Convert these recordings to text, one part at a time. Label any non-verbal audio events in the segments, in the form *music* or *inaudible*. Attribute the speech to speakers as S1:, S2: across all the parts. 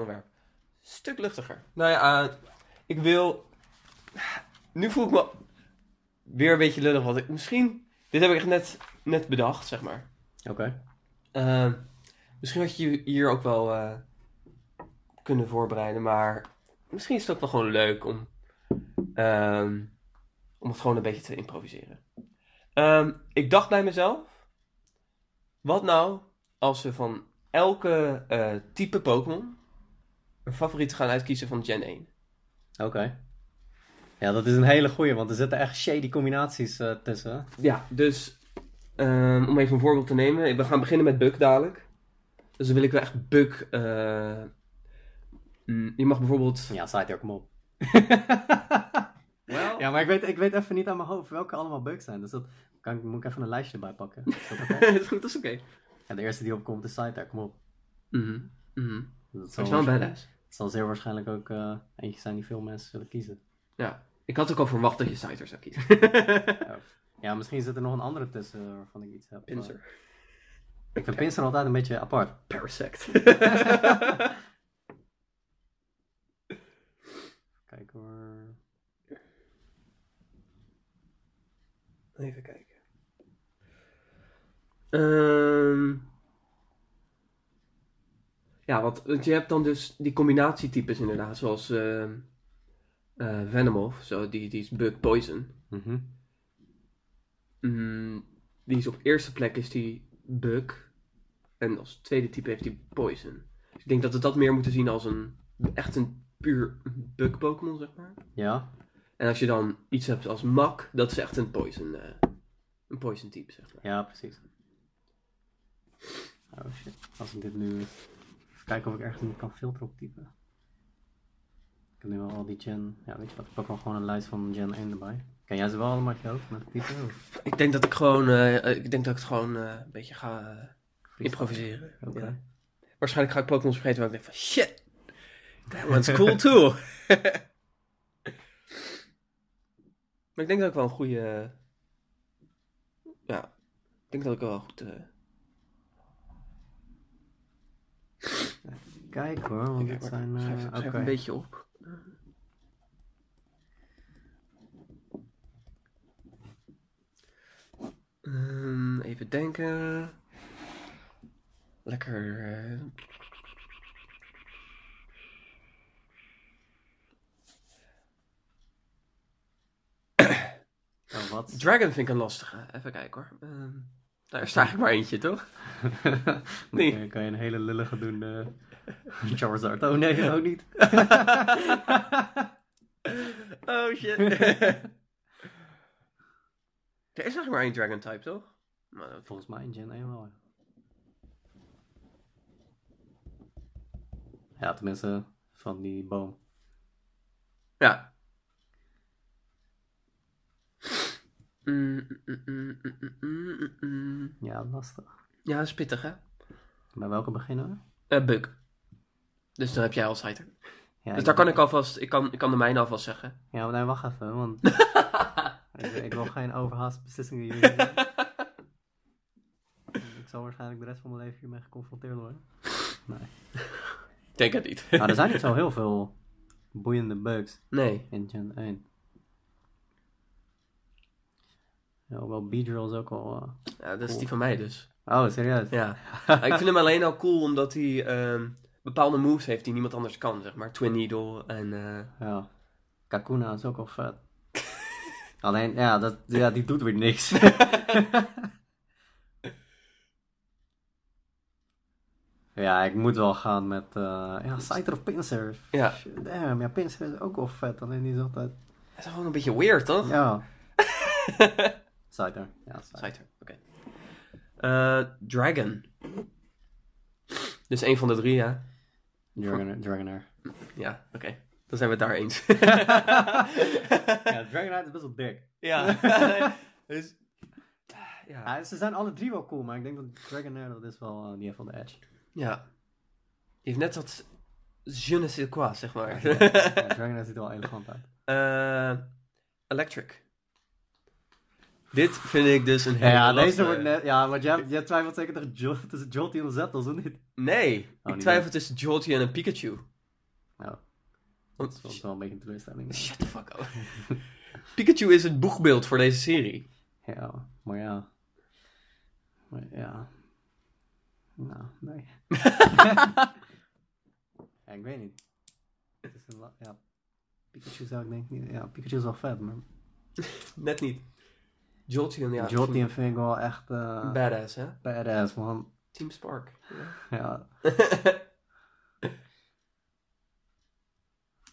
S1: onderwerp. Stuk luchtiger.
S2: Nou ja, eh,
S1: Ik wil. Nu voel ik me weer een beetje lullig, want ik misschien. Dit heb ik echt net, net bedacht, zeg maar.
S2: oké.
S1: Ehm, misschien had je je hier ook wel eh, kunnen voorbereiden, maar misschien is het ook wel gewoon leuk om, ehm, om het gewoon een beetje te improviseren. Ehm, ik dacht bij mezelf, wat nou als we van elke eh, type Pokémon een favoriet gaan uitkiezen van Gen 1?
S2: Oké. Ja, dat is een hele goeie, want er zitten echt shady combinaties eh, tussen. hè?
S1: Ja, dus ehm, om even een voorbeeld te nemen. We gaan beginnen met Buk dadelijk. Dus dan wil ik wel echt Buk... eh, mm, je mag bijvoorbeeld...
S2: Ja, staat hier ook hem op.
S1: Wel,
S2: Ja, maar ik weet, ik weet even niet aan mijn hoofd welke allemaal bugs zijn. Dus dat kan, ik- moet ik even een lijstje erbij pakken. Is dat *laughs* oké?
S1: *laughs* dat is goed, dat is oké.
S2: ja, de eerste die opkomt is Sidetrack, kom op.
S1: Mhm, mhm.
S2: Dat
S1: Dat
S2: zal,
S1: is wel een
S2: waarsch-
S1: badass.
S2: het zal zeer waarschijnlijk ook eh, eentje zijn die veel mensen zullen kiezen.
S1: Ja. Ik had ook al verwacht dat je Scyther zou kiezen.
S2: Ja, misschien zit er nog een andere tussen eh, waarvan ik iets heb. maar-
S1: Pinsir.
S2: Ik vind Pinser altijd een beetje apart.
S1: Parasect. *laughs*
S2: *laughs* Kijk hoor.
S1: Even kijken. Ehm. ja, want, want je hebt dan dus die combinatietypes inderdaad, zoals ehm eh Venomoth, zo, die, die is Bug Poison.
S2: Mhm.
S1: Mm, die is op eerste plek is die Bug. En als tweede type heeft die Poison. Dus ik denk dat we dat meer moeten zien als een echt een puur Bug Pokémon, zeg maar.
S2: Ja,
S1: En als je dan iets hebt als Mak, dat is echt een Poison, eh, een poison type, zeg maar.
S2: ja, precies. Oh shit, als ik dit nu... Even kijken of ik ergens in kan filteren op typen. Ik heb nu wel al die gen... Ja, weet je wat, ik pak wel gewoon een lijst van gen 1 erbij. Ken jij ze wel allemaal uit je hoofd met typen? of
S1: Ik denk dat ik gewoon, eh, eh, ik denk dat ik het gewoon eh, een beetje ga eh,
S2: freestyle?
S1: improviseren.
S2: Oké.
S1: Ja. Waarschijnlijk ga ik Pokémon vergeten waar ik denk van shit, that one's cool too. *laughs* maar ik denk dat ik wel een goede, eh, ja, ik denk dat ik wel goed, eh,
S2: Kijk hoor, want dit zijn...
S1: schrijf,
S2: eh
S1: schrijf
S2: Oké,
S1: een beetje op. Ehm, even denken. Lekker. eh.
S2: oh, wat?
S1: Dragon vind ik een lastige. Even kijken hoor. Ehm daar is er eigenlijk maar eentje,
S2: *laughs*
S1: toch? Nee.
S2: nee. *laughs* Dan kan je een hele lullige doen. eh *laughs* Charizard. Oh nee, ook
S1: *laughs*
S2: niet.
S1: Oh shit. *laughs* er is eigenlijk maar één Dragon type, toch? Maar dat-
S2: Volgens mij in Gen 1 wel. ja. Ja, tenminste van die boom.
S1: Ja. Mm, mm, mm, mm, mm, mm, mm, mm.
S2: Ja, lastig.
S1: Ja, dat is pittig, hè?
S2: Bij welke beginnen we?
S1: Eh bug. Dus dan heb jij al Scyther.
S2: Ja,
S1: Dus daar kan ik alvast, ik kan, ik kan de mijne alvast zeggen.
S2: Ja, maar nee, wacht even,
S1: *laughs*
S2: want... ik, ik wil geen overhaast beslissingen hier
S1: *laughs*
S2: nemen. Ik zal waarschijnlijk de rest van mijn leven hiermee geconfronteerd worden. Nee.
S1: Ik denk het niet. *laughs*
S2: Nou, er zijn niet zo heel veel boeiende bugs.
S1: Nee.
S2: In Gen 1. Ja, hoewel Beedrill is ook al... eh,
S1: Ja, dat is die van mij dus.
S2: Oh, serieus? *laughs*
S1: Ja. ik vind hem alleen al cool omdat hij ehm, bepaalde moves heeft die niemand anders kan, zeg maar. Twin Needle en... eh,
S2: Ja. Kakuna is ook al vet. *laughs* Alleen, ja, dat, ja, die doet weer niks. *laughs* ja, ik moet wel gaan met... eh ja, Scyther of Pinsir.
S1: Ja.
S2: Shit, Damn, ja, Pinsir is ook wel vet. Alleen die is altijd...
S1: Het is gewoon een beetje weird, toch?
S2: Ja. Scyther. Ja, Scyther.
S1: Scyther, oké. Eh, Dragon. Dus één van de drie, ja.
S2: Dragonair. Dragonair.
S1: Ja, oké. Dan zijn we het daar eens. *laughs*
S2: Ja, Dragonair is best wel dik.
S1: ja. *laughs* dus, ja.
S2: Ja, ze zijn alle drie wel cool, maar ik denk dat Dragonair dat is wel eh, die heeft van de edge.
S1: Ja. Je hebt net dat je ne sais quoi, zeg maar. *laughs*
S2: Ja, Dragonair ziet er wel elegant uit.
S1: Eh, electric. Dit vind ik dus een
S2: Ja,
S1: hele
S2: deze
S1: lastige.
S2: wordt net... Ja, want jij, jij twijfelt zeker tegen Jol- tussen Jolty en Zettels, of niet?
S1: Nee, ik
S2: Oh, niet
S1: twijfel tussen Jolty en een Pikachu.
S2: Nou, dat
S1: Want,
S2: is soms wel een beetje een
S1: *laughs*
S2: teleurstelling.
S1: shut the fuck up. Pikachu is het boegbeeld voor deze serie.
S2: Ja, maar ja. Maar ja. Nou, nee. ja, ik weet niet. Het is een la- ja. Pikachu zou ik denk ik niet... Ja, Pikachu is wel vet, maar...
S1: Net niet. Jolty en ja,
S2: Jolty en vind ik wel echt... eh,
S1: badass, hè?
S2: badass, man.
S1: Team
S2: *laughs*
S1: Spark. Ja.
S2: Ja.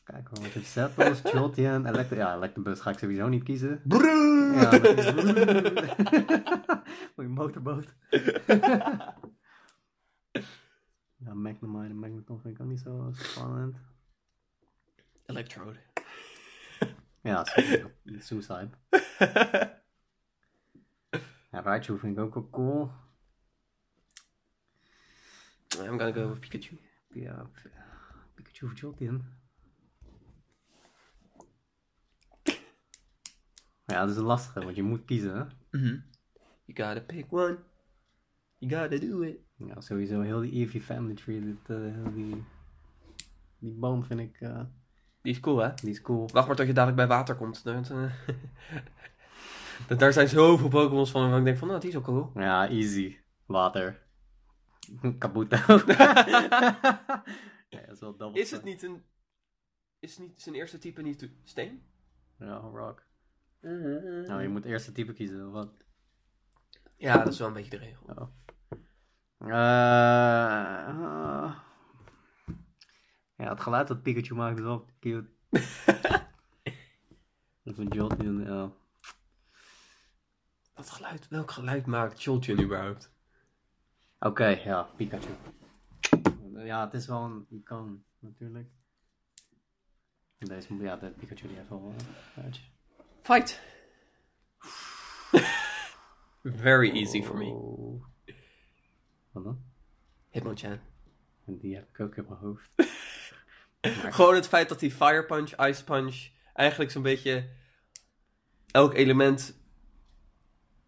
S2: Kijk hoor, want het Zettels, Jolty en Electabuzz. Ja, Electabuzz ga ik sowieso niet kiezen.
S1: Brrrr.
S2: *laughs* Ja, dat is- Mooie motorboot. ja, Magnemite en Magneton vind ik ook niet zo spannend.
S1: *laughs* Electrode.
S2: *laughs* Ja, Suicide. Suicide. Ja, Raichu vind ik ook wel cool.
S1: I'm gonna go with Pikachu.
S2: Ja, Pikachu of Jolteon. Ja, dat is een lastige, want je moet kiezen. Hè?
S1: You gotta pick one. You gotta do it.
S2: Ja, sowieso heel die Eevee family tree, dit, eh, heel die, die boom vind ik, eh,
S1: Die is cool, hè?
S2: die is cool.
S1: Wacht maar tot je dadelijk bij water komt. Dat, eh, *laughs* dat- daar zijn zoveel Pokémon's van waarvan ik denk van, nou, die is ook cool.
S2: Ja, easy. Water. *laughs*
S1: *laughs*
S2: Kabuto. ja, dat is wel dubbel.
S1: Is het niet een... Is niet zijn eerste type niet steen?
S2: Ja, rock. Nou, je moet eerst het type kiezen, of wat?
S1: Ja, dat is wel een beetje de regel.
S2: Oh. Eh, ja, het geluid dat Pikachu maakt is wel cute.
S1: *laughs*
S2: dat is een Jolteon, ja.
S1: Wat geluid, welk geluid maakt Jolteon überhaupt?
S2: Oké, ja, Pikachu. Ja, het is wel een icoon, natuurlijk. Deze, ja, de Pikachu die heeft wel eh, uitje.
S1: Fight! *laughs* Very easy for me.
S2: Oh. Wat dan?
S1: Hitmonchan.
S2: En die heb ik ook in mijn hoofd.
S1: Gewoon het feit dat die Fire Punch, Ice Punch, eigenlijk zo'n beetje elk element.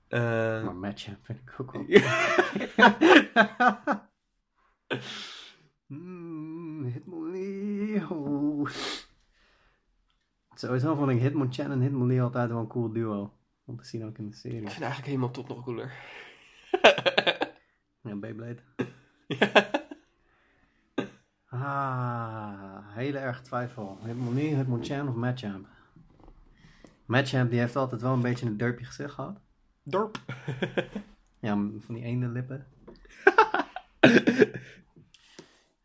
S1: eh,
S2: Maar matchen vind ik ook wel. *laughs* Mm, Hitmonlee. oh. Sowieso vond ik Hitmonchan en Hitmonlee altijd wel een cool duo. Om te zien ook in de
S1: ik
S2: serie.
S1: vind eigenlijk helemaal top nog cooler.
S2: Ja, Beyblade. Ah, hele erg twijfel. Hitmonlee, Hitmonchan of Machamp? Machamp die heeft altijd wel een beetje een derpje gezicht gehad.
S1: Dorp.
S2: Ja, m- van die ene lippen.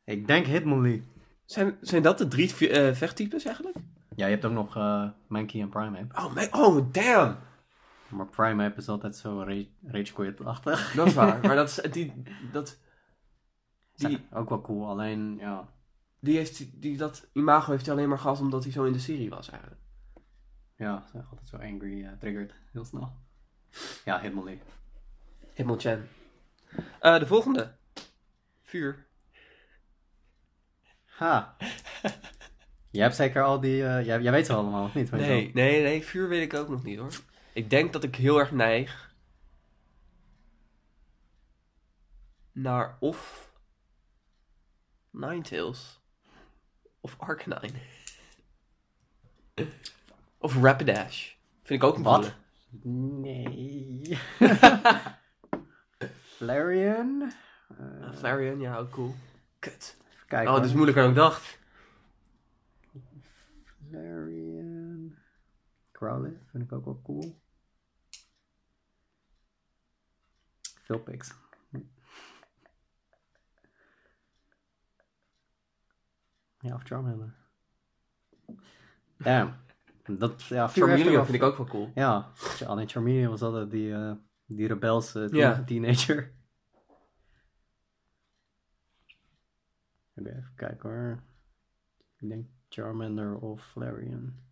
S2: ik denk Hitmonlee.
S1: *laughs* zijn, zijn dat de drie vi- eh, vechttypes eigenlijk?
S2: Ja, je hebt ook nog eh Mankey en Primeape.
S1: Oh, mijn, oh damn!
S2: Maar Primeape is altijd zo rage, rage quit-achtig.
S1: Dat is
S2: *laughs*
S1: waar. maar dat is, die, dat, die,
S2: Zijn Ook wel cool, alleen ja.
S1: die heeft, die, dat imago heeft hij alleen maar gehad omdat hij zo in de serie was eigenlijk.
S2: Ja, ze zijn altijd zo angry, eh triggered. Heel snel. Ja, Hitmonlee.
S1: Hitmonchan. Eh, de volgende. Vuur. *laughs*
S2: Ha! jij hebt zeker al die... eh, jij, jij weet ze allemaal, of niet? Weet je
S1: Nee,
S2: wel?
S1: nee, nee, vuur weet ik ook nog niet hoor. Ik denk dat ik heel erg neig naar of Ninetales of Arcanine. Of Rapidash. Vind ik ook een
S2: Wat?
S1: coole. *laughs*
S2: Nee. Flareon?
S1: Eh, Flareon, ja, ook cool. Kut.
S2: Kijk
S1: Oh,
S2: hoor.
S1: dit is moeilijker dan ik dacht.
S2: Flareon. Crowley vind ik ook wel cool. Philpix. Ja, of Charmander. Damn. Dat, ja, vuur heeft er
S1: Charmeleon
S2: wel-
S1: vind ik ook wel cool.
S2: Ja, alleen Charmeleon was altijd die, eh die rebelse teen-
S1: Ja.
S2: teenager. Oké, even kijken hoor. Ik denk Charmander of Flareon.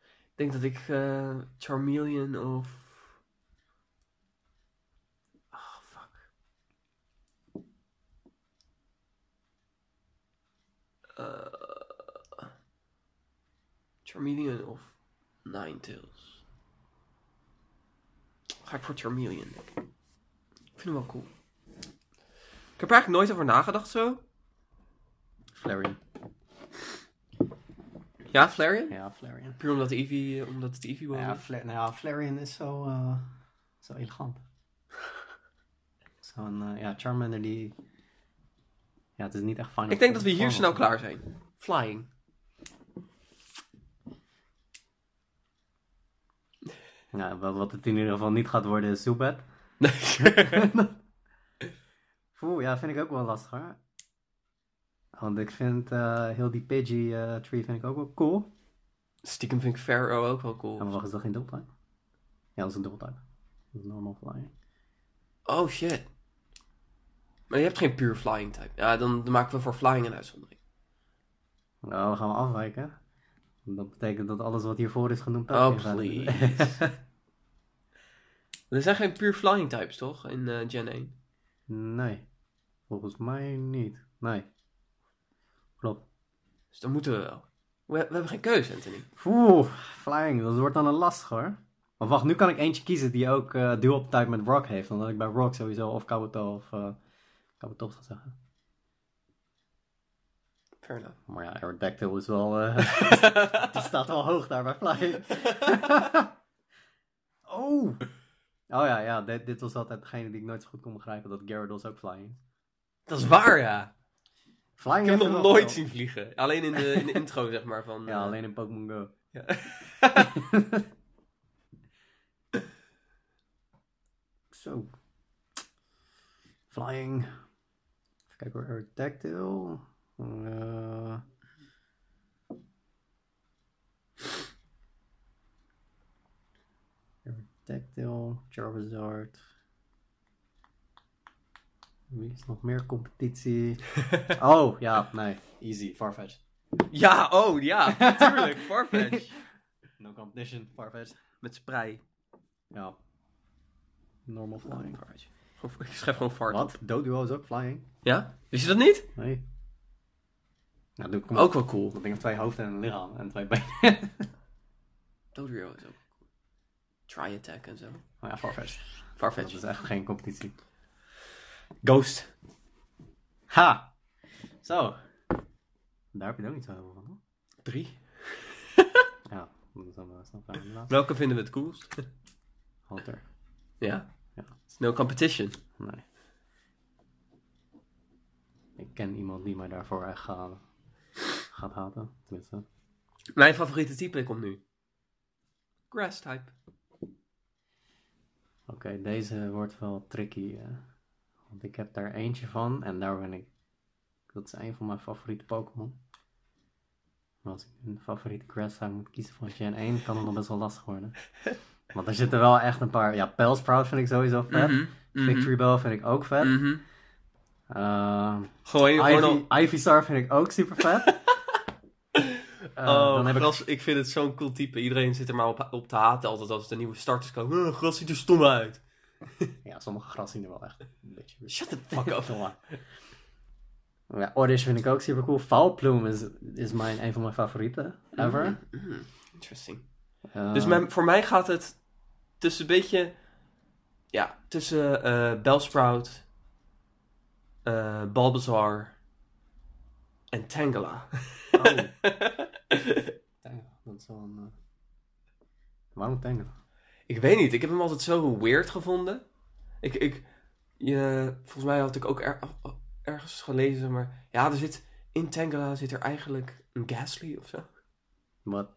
S1: Ik denk dat ik eh, Charmeleon of... Ah, fuck. Eh, Charmeleon of Ninetales. ga ik voor Charmeleon. denk ik. Ik vind hem wel cool. Ik heb er eigenlijk nooit over nagedacht zo.
S2: Flareon.
S1: Ja, Flareon?
S2: Ja, Flareon.
S1: Puur omdat, Eevee, eh, omdat het Eevee was.
S2: Ja, Fla- nou ja, Flareon is zo, eh,
S1: *laughs*
S2: zo elegant. Zo'n, eh, ja, Charmander die... Ja, het is niet echt Final
S1: ik denk dat we hier
S2: Fantasy.
S1: snel klaar zijn. Flying.
S2: Ja, wel Nou, wat het in ieder geval niet gaat worden is Zubat.
S1: *laughs*
S2: Oeh, ja, vind ik ook wel lastig hoor. Want ik vind eh, heel die Pidgey eh, tree vind ik ook wel cool.
S1: Stiekem vind ik Pharaoh ook wel cool.
S2: Ja, maar wacht, is dat geen dubbeltype? Ja, dat is een dubbeltype. Dat is normal flying.
S1: Oh shit. Maar je hebt geen puur flying type. Ja, dan, dan maken we voor flying een uitzondering.
S2: Nou, dan gaan we afwijken. Dat betekent dat alles wat hiervoor is genoemd...
S1: Oh,
S2: gaat.
S1: please. *laughs* Er zijn geen puur flying types, toch? In eh, Gen 1.
S2: *laughs* nee, volgens mij niet. Nee. Klopt.
S1: Dus dan moeten we wel. We, we hebben geen keuze, Anthony.
S2: Oeh, flying, dat wordt dan een lastig hoor. Maar wacht, nu kan ik eentje kiezen die ook eh dual type met Rock heeft. Omdat ik bij Rock sowieso of Kabuto of eh Kabutops ga zeggen.
S1: Fair enough.
S2: Maar ja, Aerodactyl is wel... eh,
S1: *laughs*
S2: die staat wel hoog daar bij Flying. oh! Oh ja, ja dit, dit was altijd degene die ik nooit zo goed kon begrijpen. Dat Gyarados ook Flying is.
S1: Dat is waar, ja.
S2: Flying
S1: *laughs* Ik heb
S2: heeft
S1: hem nog
S2: er
S1: nooit
S2: wel.
S1: zien vliegen. Alleen in de, in de intro, zeg maar. Van,
S2: Ja,
S1: eh,
S2: alleen in Pokémon Go.
S1: ja. *laughs*
S2: *laughs* Zo. Flying. Even kijken hoor. Aerodactyl. Eh, Aerodactyl. Charizard. Wie is nog meer *laughs* competitie? oh, ja. Nee. Easy. Farfetch.
S1: ja, oh ja, natuurlijk.
S2: *laughs*
S1: Farfetch.
S2: No competition. Farfetch.
S1: *laughs* Met sprei.
S2: Ja. Normal flying.
S1: Farfetch. Gewoon- Ik schrijf gewoon Farfetch.
S2: Wat? Doduo is ook flying?
S1: Ja? Wist je dat niet?
S2: Nee. Nou, doe ik hem
S1: Ook wel cool.
S2: Dat ding heeft twee hoofden en een lichaam en twee benen. *laughs*
S1: Dodrio is ook cool. Try attack en zo.
S2: maar ja, Farfetch. Dat
S1: Farfetch.
S2: is echt geen competitie.
S1: Ghost.
S2: Ha! Zo. Daar heb je het ook niet zo heel veel van, hoor.
S1: 3.
S2: Ja, dat is dan wel snel klaar inderdaad.
S1: Welke vinden we het coolst?
S2: Hunter.
S1: ja.
S2: *laughs* Ja.
S1: No competition.
S2: Nee. Ik ken iemand die mij daarvoor echt gaat, gaat haten. Tenminste.
S1: Mijn favoriete type komt nu. Grass type.
S2: Oké, deze wordt wel tricky. eh. want ik heb daar eentje van en daar ben ik. Dat is een van mijn favoriete Pokémon. Maar als ik een favoriete grass type moet kiezen van Gen 1, kan het nog best wel
S1: *laughs*
S2: lastig worden. Want er zitten wel echt een paar. Ja, Pelsprout vind ik sowieso vet.
S1: Mhm, mhm.
S2: Victory Bell vind ik ook vet.
S1: Mhm.
S2: Ehm,
S1: Gooi je gewoon
S2: Ivy,
S1: al.
S2: Ivysaur vind ik ook super
S1: *laughs*
S2: vet. Eh,
S1: Oh,
S2: dan heb ik-
S1: gras, ik... vind het zo'n cool type. Iedereen zit er maar op, op te haten altijd als de nieuwe starters komen. "Eh, gras ziet er stom uit.
S2: Ja, sommige gras zien er wel echt een beetje
S1: Shut the *laughs* fuck up.
S2: jongen. *laughs* Ja, Oddish vind ik ook super cool. Valploem is, is mijn, een van mijn favorieten ever.
S1: Mhm. Interesting.
S2: Eh,
S1: Dus mijn- voor mij gaat het tussen een beetje... Ja, tussen eh Bellsprout, eh Balbazar en Tangela.
S2: Oh.
S1: *laughs*
S2: Tangela, dat is wel een. eh, Waarom Tangela?
S1: Ik weet niet, ik heb hem altijd zo weird gevonden. Ik, ik, je, volgens mij had ik ook er- oh, ergens gelezen, maar ja, er zit, in Tangela zit er eigenlijk een Gasly of zo. *laughs*
S2: Wat?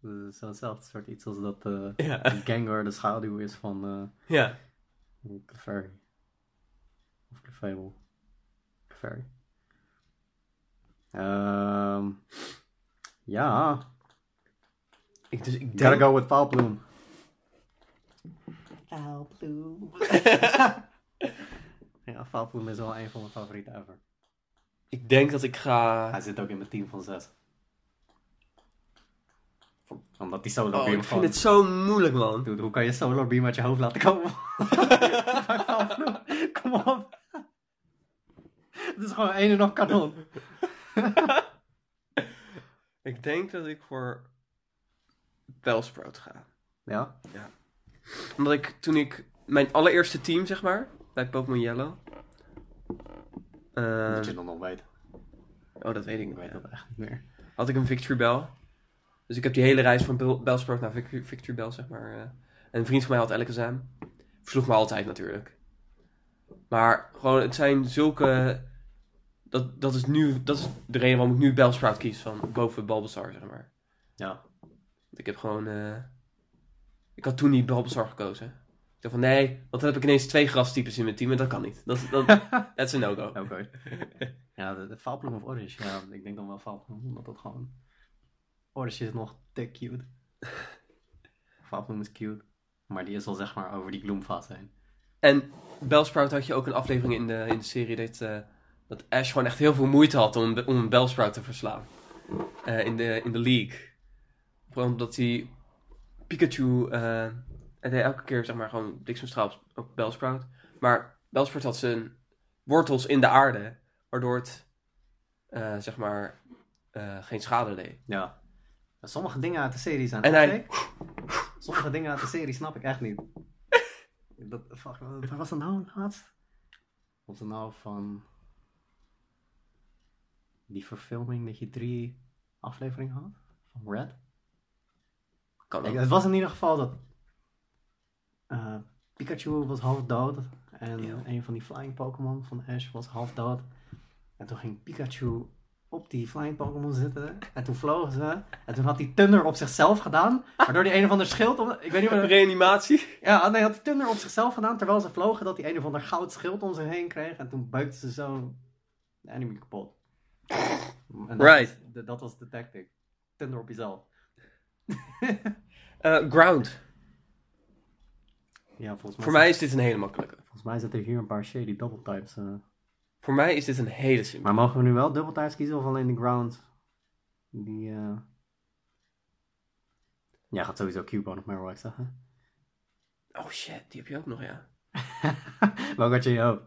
S2: Dat is Zo'nzelfde soort iets als dat eh
S1: Ja.
S2: Gengar de schaduw is van eh
S1: ja.
S2: Clefairy. Of Clefable. Clefairy. Ehm ja,
S1: Ik, dus ik
S2: Gotta
S1: denk,
S2: go with Valploem. *laughs* ja, Valploem is wel een van mijn favorieten ever.
S1: ik denk dat ik ga...
S2: Hij zit ook in mijn team van zes. Omdat die solo
S1: Oh,
S2: beam
S1: ik
S2: van...
S1: vind het zo moeilijk, man.
S2: Dude, hoe kan je solo beam uit je hoofd laten komen?
S1: *laughs*
S2: Bij Valploem. Kom op. Het is gewoon één en nog kanon.
S1: Ik denk dat ik voor Bellsprout ga.
S2: Ja?
S1: Omdat ik toen ik mijn allereerste team, zeg maar, bij Pokémon Yellow. eh,
S2: Moet je dan nog weten.
S1: oh, dat weet ik
S2: Ik
S1: niet.
S2: weet
S1: ja.
S2: dat echt niet meer.
S1: Had ik een Victory Bell. Dus ik heb die hele reis van Bel- Bellsprout naar Victory, Victory Bell, zeg maar. eh. En een vriend van mij had Alakazam. Versloeg me altijd natuurlijk. Maar gewoon, het zijn zulke... Dat, dat is nu... Dat is de reden waarom ik nu Bellsprout kies van boven Bulbasaur, zeg maar.
S2: Ja.
S1: Want ik heb gewoon. eh, ik had toen niet Bulbasaur gekozen. Ik dacht van nee, want dan heb ik ineens twee grastypes in mijn team en dat kan niet. Dat, dat, that's a no-go.
S2: Oké. *laughs* Ja, de, de Valploem of Orange. Ja, ik denk dan wel Valploem, omdat dat gewoon... Orange is nog te *laughs* cute. Valploem is cute. Maar die is al zeg maar over die gloomfase heen.
S1: En Bellsprout had je ook een aflevering in de, in de serie dat, eh, dat Ash gewoon echt heel veel moeite had om, om een Bellsprout te verslaan. Eh, in, de, in de league. Gewoon omdat hij Pikachu. eh hij deed elke keer zeg maar gewoon bliksemstraal op- op Bellsprout. Maar Bellsprout had zijn wortels in de aarde. Waardoor het eh, zeg maar eh, geen schade deed.
S2: Ja. Maar Sommige dingen uit de serie zijn
S1: En
S2: echt
S1: hij-
S2: gek. Sommige dingen uit de serie snap ik echt *laughs* niet. Dat, fuck, wat was dat nou laatst? Was dat nou van... Die verfilming dat je drie afleveringen had? Van Red?
S1: Kan
S2: Kijk,
S1: ook.
S2: het was in ieder geval dat eh, Pikachu was half dood en
S1: Ja.
S2: een van die flying Pokémon van Ash was half dood. En toen ging Pikachu op die flying Pokémon zitten en toen vlogen ze. En toen had hij Thunder op zichzelf gedaan, waardoor die een of ander schild... Om, ik weet
S1: *laughs*
S2: niet meer,
S1: Reanimatie.
S2: ja, nee, had hij Thunder op zichzelf gedaan terwijl ze vlogen dat hij een of ander goud schild om zich heen kreeg. En toen buikte ze zo de enemy kapot. En dat
S1: Right.
S2: was- dat was de tactic. Thunder op jezelf.
S1: Eh, ground.
S2: Ja, volgens mij
S1: Voor mij is dit een hele makkelijke.
S2: Volgens mij zitten hier een paar shady double types. eh.
S1: Voor mij is dit een hele simpele.
S2: Maar mogen we nu wel double types kiezen of alleen de ground? Die. eh Ja, gaat sowieso Cubone op Marowak zeggen. *laughs*
S1: Oh shit, die heb je ook nog, ja.
S2: Welke had je in je hoofd?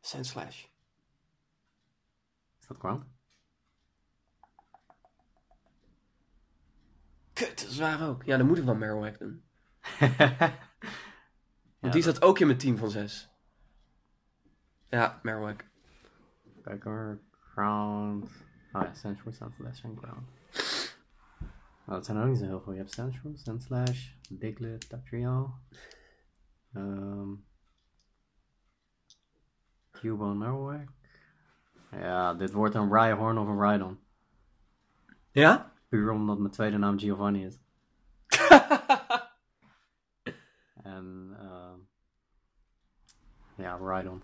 S1: Sandslash.
S2: Is dat ground? *laughs*
S1: Kut, dat is waar ook. Ja, dan moet ik wel Marowak doen. Want die zat ook in mijn team van zes. Ja, Marowak.
S2: Kijk hoor, ground. Ah ja, Sandshrew, Sandslash en ground. Nou, dat zijn er ook niet zo heel veel. Je hebt Sandshrew, Sandslash, Diglett, Dactrio. Ehm Cubone, Marowak. Ja, dit wordt een Rhyhorn of een Rhydon.
S1: Ja?
S2: Puur omdat mijn tweede naam Giovanni is. En ehm ja, Rhydon.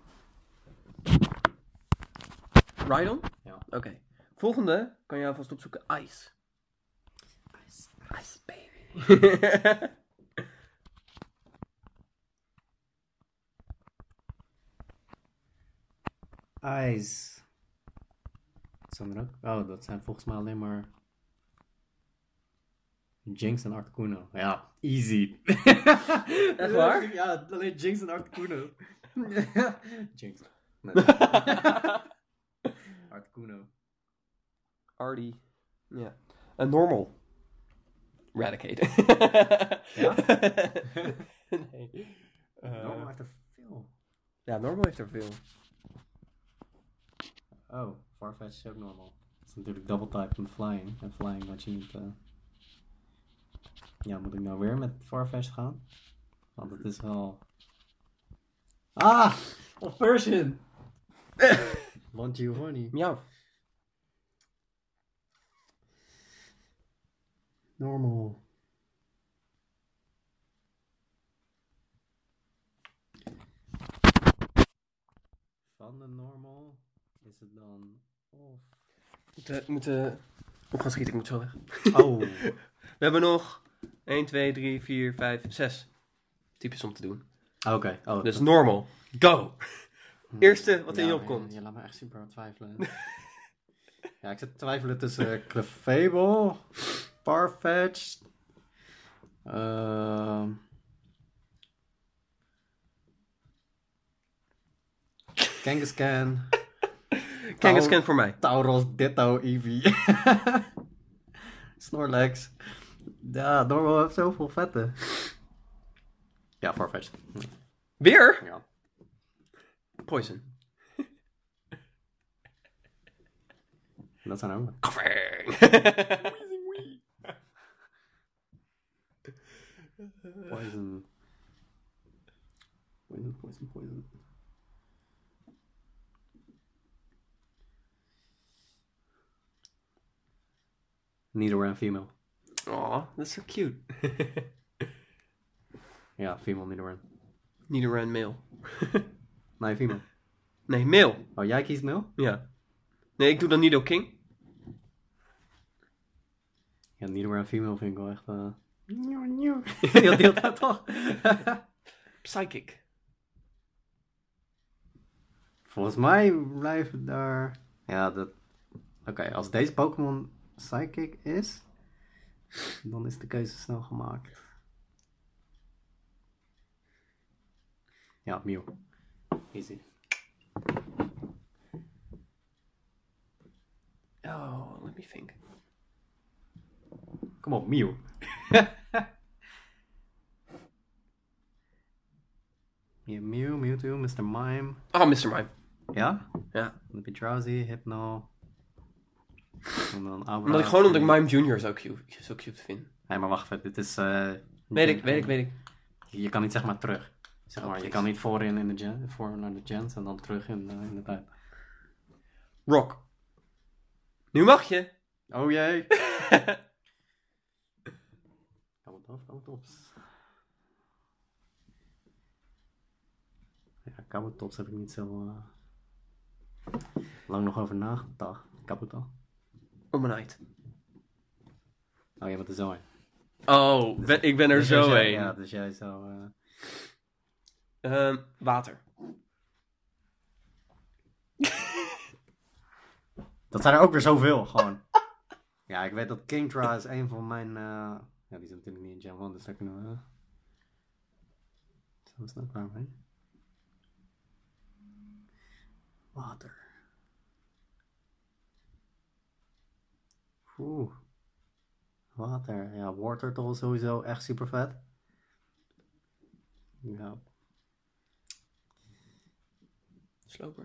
S1: Rhydon?
S2: Ja.
S1: Oké. Volgende kan je alvast opzoeken. Ice. Ice. Ice, *laughs* baby.
S2: Eyes. Zijn er ook? Oh, dat zijn volgens mij alleen maar. Jinx en Articuno. Ja, easy. Echt
S1: waar?
S2: Ja, alleen Jinx en Articuno. Jinx. Nee. Articuno.
S1: Artie. Ja. Een normal. Radicate. *laughs*
S2: Ja?
S1: nee. Eh,
S2: Normal maakt er veel.
S1: ja, normal heeft er veel.
S2: Oh, Farfetch is ook normal. Dat is natuurlijk double type en flying. En flying wat je niet. eh, Ja, moet ik nou weer met Farfetch gaan? Want het is wel. Ah! Of Persian! *laughs* Want Giovanni.
S1: Miauw.
S2: Normal. Van de normal is het dan. Of.
S1: Moeten we moeten op gaan schieten, ik moet zo weg.
S2: *laughs* Oh!
S1: We hebben nog 1, 2, 3, 4, 5, 6 types om te doen.
S2: Oké, oh,
S1: Dus normal. Go! Eerste wat in je
S2: Hmm. Ja,
S1: opkomt.
S2: Je, je laat me echt super aan twijfelen. *laughs* ja, ik zit te twijfelen tussen eh, Clefable, Farfetch, ehm, Kangaskhan,
S1: Kangaskhan voor mij.
S2: Tauros, Ditto, Eevee, *laughs* Snorlax, Ja, Dorwel heeft zoveel vette. Ja, Farfetch.
S1: Weer?
S2: Ja.
S1: Poison.
S2: Dat zijn ook.
S1: Covering.
S2: Poison. Poison, poison, poison. Neither were female.
S1: Aw, that's so cute.
S2: Ja, female, neither were.
S1: Niet een rand mail.
S2: Nee, female.
S1: Nee, mail.
S2: Oh, jij kiest nul?
S1: Ja. Nee, ik doe dan Nido King.
S2: Ja, neither were female vind ik wel echt... eh Nieuw, *laughs* nieuw. Heel deelt dat *laughs* toch?
S1: Psychic.
S2: Volgens mij blijven daar... Ja, dat... Oké, als deze Pokémon Psychic is... Dan is de keuze snel gemaakt. Ja, Mew. Easy.
S1: Oh, let me think.
S2: Kom op, Mew. *laughs* Ja, Mew, Mewtwo, Mr. Mime.
S1: Ah, Mr. Mime.
S2: Ja?
S1: Ja.
S2: Dan heb je Drowsy, Hypno. En dan Abra.
S1: Omdat ik gewoon omdat ik Mime Junior zo cute, zo cute vind.
S2: Nee, maar wacht even, dit is... eh,
S1: Weet ik, weet ik, weet ik.
S2: Je kan niet zeg maar terug. Zeg
S1: Oh,
S2: maar, je
S1: precies.
S2: kan niet voorin in de gen, voor naar de gens en dan terug in, eh, in de tijd.
S1: Rock. Nu mag je.
S2: Oh jee! Kan het af, kan het op. Ja, Kabutops heb ik niet zo eh, lang nog over nagedacht. Kabuto.
S1: *laughs* Omanight.
S2: Oh, jij bent er zo in.
S1: Oh, ben- ik ben er
S2: Dus
S1: zo
S2: jij-
S1: heen.
S2: Ja, dus jij zo... eh,
S1: Ehm, water.
S2: Dat zijn er ook weer zoveel, gewoon. *laughs* ja, ik weet dat Kingdra is een van mijn... eh, Ja, die zit natuurlijk niet in Gen 1, dus daar kunnen we... Zijn we snel klaar mee? Water. Oeh. Water. Ja, Watertol is sowieso echt super vet. Ja,
S1: Slow bro.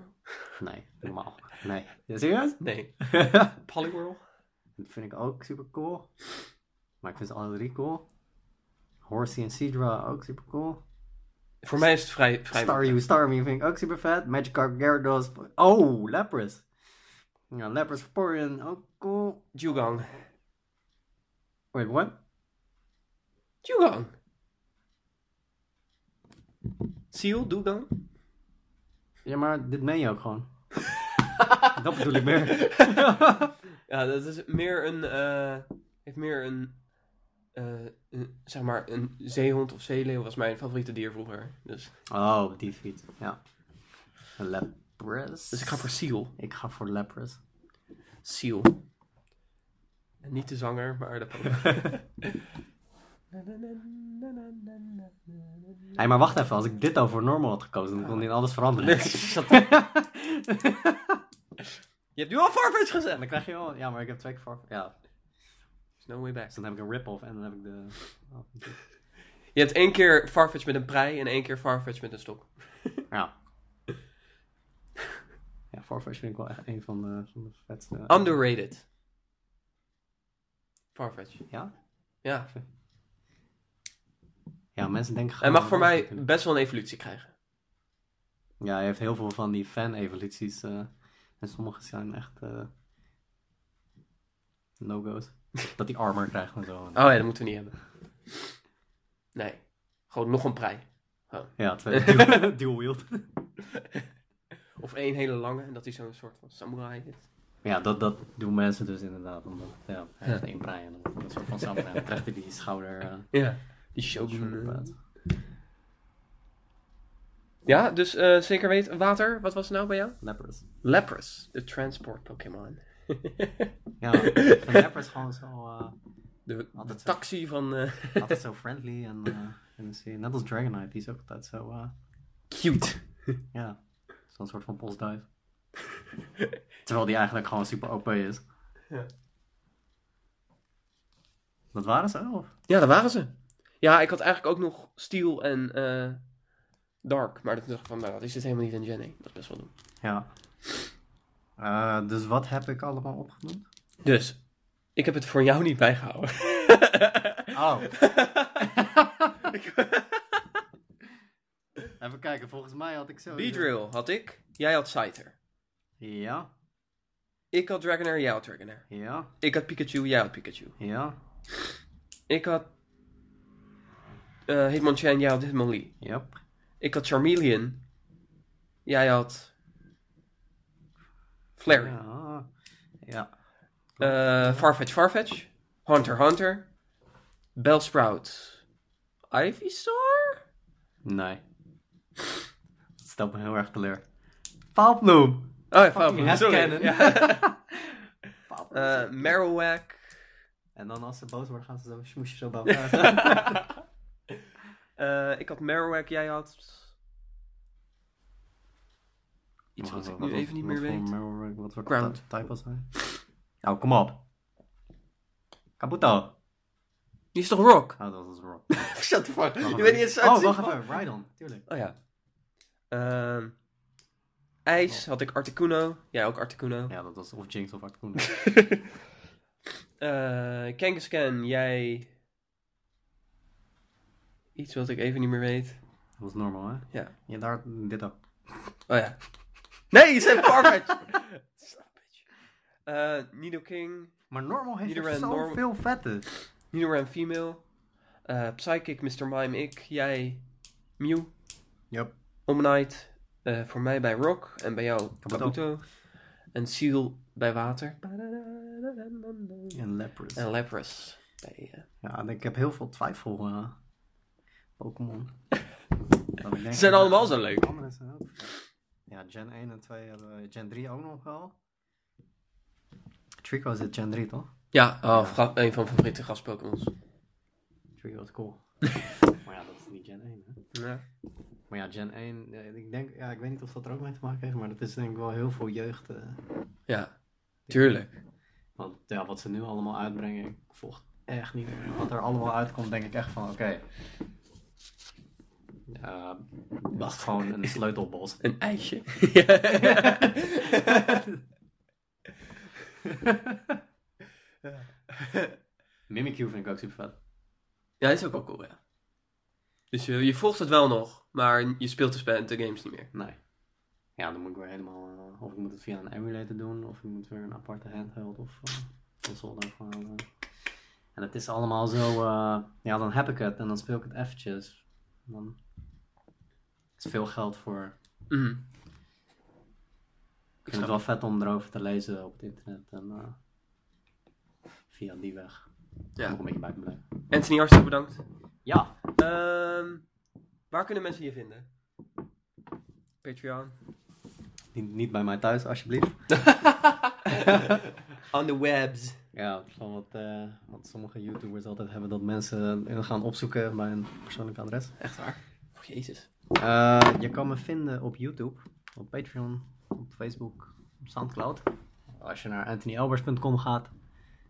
S2: nee, normaal. Nee. Ja, serieus?
S1: *laughs* Nee. Poliwhirl.
S2: Dat vind ik ook super cool. Maar ik vind ze alle drie cool. Horsey en Sidra ook super cool.
S1: Voor mij is het vrij... vrij
S2: Staryu, Starmie vind ik ook super vet. Magikarp, Gyarados. Oh, Lapras. Ja, Lapras Vaporeon, ook cool.
S1: Dugong.
S2: Wait, what?
S1: Dugong. Seal, Dugong.
S2: Ja, maar dit meen je ook gewoon. Dat bedoel ik meer.
S1: *laughs* Ja, dat is meer een... eh, heeft meer een, eh, een- Zeg maar, een zeehond of zeeleeuw was mijn favoriete dier vroeger. Dus,
S2: Oh, op die fiets. Ja. Lapras.
S1: dus ik ga voor Seal.
S2: Ik ga voor *laughs* Lapras.
S1: Seal. En niet de zanger, maar de...
S2: Hé, maar wacht even. Als ik dit dan voor normal had gekozen, dan kon hij in alles veranderen.
S1: Shut up.
S2: *laughs*
S1: Je hebt nu al Farfetch gezegd.
S2: Dan krijg je wel... Ja, maar ik heb twee keer voor... Ja,
S1: There's no way back.
S2: Dus dan heb ik een rip-off en dan heb ik de. oh,
S1: Je hebt één keer Farfetch met een prei en één keer Farfetch met een stok.
S2: ja. Ja, Farfetch vind ik wel echt een van de, van de vetste.
S1: Underrated. Farfetch.
S2: Ja?
S1: Ja.
S2: Ja, mensen denken
S1: Hij
S2: gewoon.
S1: mag voor mij
S2: natuurlijk.
S1: best wel een evolutie krijgen.
S2: Ja, hij heeft heel veel van die fan-evoluties. eh, en sommige zijn echt. eh no-go's. Dat hij armor krijgt en zo.
S1: Oh ja, dat moeten we niet hebben. Nee. Gewoon nog een prei.
S2: Ja, twee. *laughs* dual- Dual-wield.
S1: Of één hele lange en dat hij zo'n soort van samurai is.
S2: ja, dat, dat doen mensen dus inderdaad. Omdat, ja, hij heeft
S1: Ja.
S2: één braai en dan een soort van samen. En dan krijgt hij die schouder. eh,
S1: Ja. Die
S2: schouder
S1: shogun. eh.
S2: plaat.
S1: Ja, dus eh, zeker weten. Water, wat was het nou bij jou?
S2: Leprous.
S1: Lapras, de transport Pokémon.
S2: Ja, ik vind Leprous gewoon zo. eh,
S1: De, de
S2: Altijd zo.
S1: taxi van... eh, *laughs*
S2: altijd zo friendly en, eh, en dan zie je- net als Dragonite, die is ook altijd zo, eh,
S1: Cute.
S2: ja, zo'n soort van postduif. Terwijl die eigenlijk gewoon super OP is.
S1: Ja.
S2: Dat waren ze elf.
S1: Ja, daar waren ze. Ja, ik had eigenlijk ook nog Steel en eh, Dark. Maar dat dacht ik van, nou, dat is dit helemaal niet in Gen 1. Dat is best wel doen.
S2: Ja. Eh, dus wat heb ik allemaal opgenoemd?
S1: Dus, ik heb het voor jou niet bijgehouden.
S2: Oh.
S1: *laughs*
S2: Even kijken, volgens mij had ik zo...
S1: B-Drill had ik. Jij had Scyther.
S2: Ja,
S1: Ik had Dragonair, jij had Dragonair.
S2: ja,
S1: Ik had Pikachu, jij had Pikachu.
S2: ja,
S1: Ik had eh Hitmonchan, jij had Hitmonlee.
S2: yep.
S1: Ik had Charmeleon. Jij had Flareon.
S2: Ja, ja.
S1: Eh, Farfetch, Farfetch. Hunter, Hunter. Bellsprout. Ivysaur?
S2: Nee. Dat stelt me heel erg teleur. Paalploem!
S1: Oh ja,
S2: Fucking
S1: Falcon, sorry.
S2: headcanon.
S1: Ja. *laughs*
S2: Paalploem.
S1: Eh,
S2: *laughs*
S1: Marowak.
S2: en dan als ze boos worden, gaan ze zo smoesje zo bij elkaar staan. *laughs*
S1: Eh, ik had Marowak, jij had... Iets wat ik nu even niet meer weet.
S2: weet. Wat voor
S1: Ground.
S2: ty- type was hij? Nou, kom op. Kabuto.
S1: Die is toch Rock? *laughs*
S2: Oh, dat was Rock.
S1: Shut the fuck.
S2: Wacht
S1: Je
S2: even.
S1: weet niet eens uit
S2: Oh, wacht even. Rhydon, tuurlijk.
S1: Oh ja. Ehm, ijs had ik Articuno. Jij ook Articuno.
S2: Ja, dat was of Jinx of *laughs* Akuna.
S1: *laughs* Eh Kangaskhan, jij... Iets wat ik even niet meer weet.
S2: Dat was normaal, hè?
S1: Ja.
S2: Ja, daar, dit ook.
S1: Oh ja. Nee, je zei *laughs* Farfetch! Son of a bitch. Eh, Nidoking.
S2: Maar normaal heeft
S1: Iedereen
S2: er
S1: norm-
S2: zoveel vette.
S1: Nidoran female. Eh, Psychic, Mr. Mime, ik. Jij, Mew.
S2: Yep.
S1: Omnite. eh voor mij bij Rock. En bij jou,
S2: Kabuto.
S1: Kabuto. En Seal bij water.
S2: En Lapras.
S1: En Lapras. Bij, eh,
S2: Ja, en ik heb heel veel twijfel eh
S1: *laughs*
S2: Pokémon. Ze
S1: zijn allemaal zo leuk.
S2: Andere zijn ook. Ja, Gen 1 en 2 hebben we. Gen 3 ook nog wel. Trico zit Gen 3 toch?
S1: Ja, oh, gra- een van mijn favoriete gastpokémons.
S2: Trico is
S1: *laughs*
S2: cool. maar ja, dat is niet Gen 1 hè.
S1: Ja.
S2: Maar ja, Gen 1, eh, ik denk, ja, ik weet niet of dat er ook mee te maken heeft, maar dat is denk ik wel heel veel jeugd. eh,
S1: ja, tuurlijk.
S2: want ja, wat ze nu allemaal uitbrengen, ik volg echt niet meer. Wat er allemaal uitkomt, denk ik echt van, oké. Ja, wacht gewoon een sleutelbos. *laughs*
S1: Een ijsje. *laughs*
S2: Mimikyu vind ik ook super vet.
S1: ja, dat is ook wel cool, ja. Dus je, je volgt het wel nog, maar je speelt de, spe- de games niet meer.
S2: Nee. Ja, dan moet ik weer helemaal... eh, of ik moet het via een emulator doen, of ik moet weer een aparte handheld of eh, console daarvoor halen. En het is allemaal zo... eh, ja, dan heb ik het en dan speel ik het eventjes. En Dan is veel geld voor.
S1: Mhm.
S2: Ik vind het wel vet om erover te lezen op het internet en eh, via die weg.
S1: Ja.
S2: Ja. Nog een beetje bij te blijven.
S1: Anthony, hartstikke bedankt.
S2: Ja,
S1: Ehm, waar kunnen mensen je vinden? Patreon.
S2: niet, niet bij mij thuis alsjeblieft.
S1: On the webs.
S2: Ja, van wat, eh, wat sommige YouTubers altijd hebben, dat mensen hun gaan opzoeken bij een persoonlijk adres.
S1: Echt waar? Oh, jezus.
S2: Eh, je kan me vinden op YouTube, op Patreon, op Facebook, op Soundcloud. Als je naar anthonyelbers.com gaat,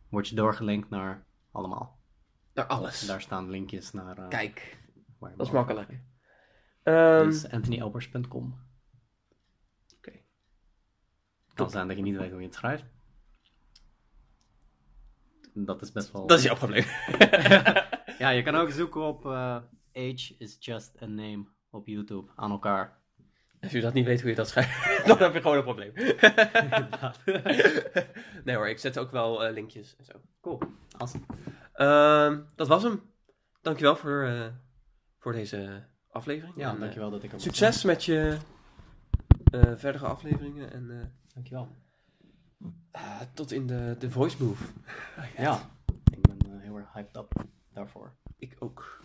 S2: word je doorgelinkt naar allemaal.
S1: Naar alles.
S2: Daar staan linkjes naar... eh,
S1: Kijk,
S2: waar je
S1: dat is
S2: mag-
S1: makkelijk. Ehm,
S2: Dus anthonyelbers.com.
S1: Oké.
S2: Kan zijn dat je niet weet hoe je het schrijft. Dat is best wel...
S1: dat is jouw probleem. *laughs*
S2: Ja, je kan ook zoeken op eh, Age is just a name op YouTube aan elkaar.
S1: Als je dat niet weet hoe je dat schrijft, *laughs* dan heb je gewoon een probleem. nee hoor, ik zet ook wel eh, linkjes en zo.
S2: Cool. Awesome.
S1: Ehm, dat was hem. Dankjewel voor, eh, voor deze aflevering.
S2: Ja,
S1: En, eh,
S2: dankjewel dat ik er was.
S1: Succes met je eh, verdere afleveringen en eh,
S2: Dankjewel.
S1: ah, tot in de, de voice move.
S2: Ja, ik ben eh, heel erg hyped up daarvoor.
S1: Ik ook.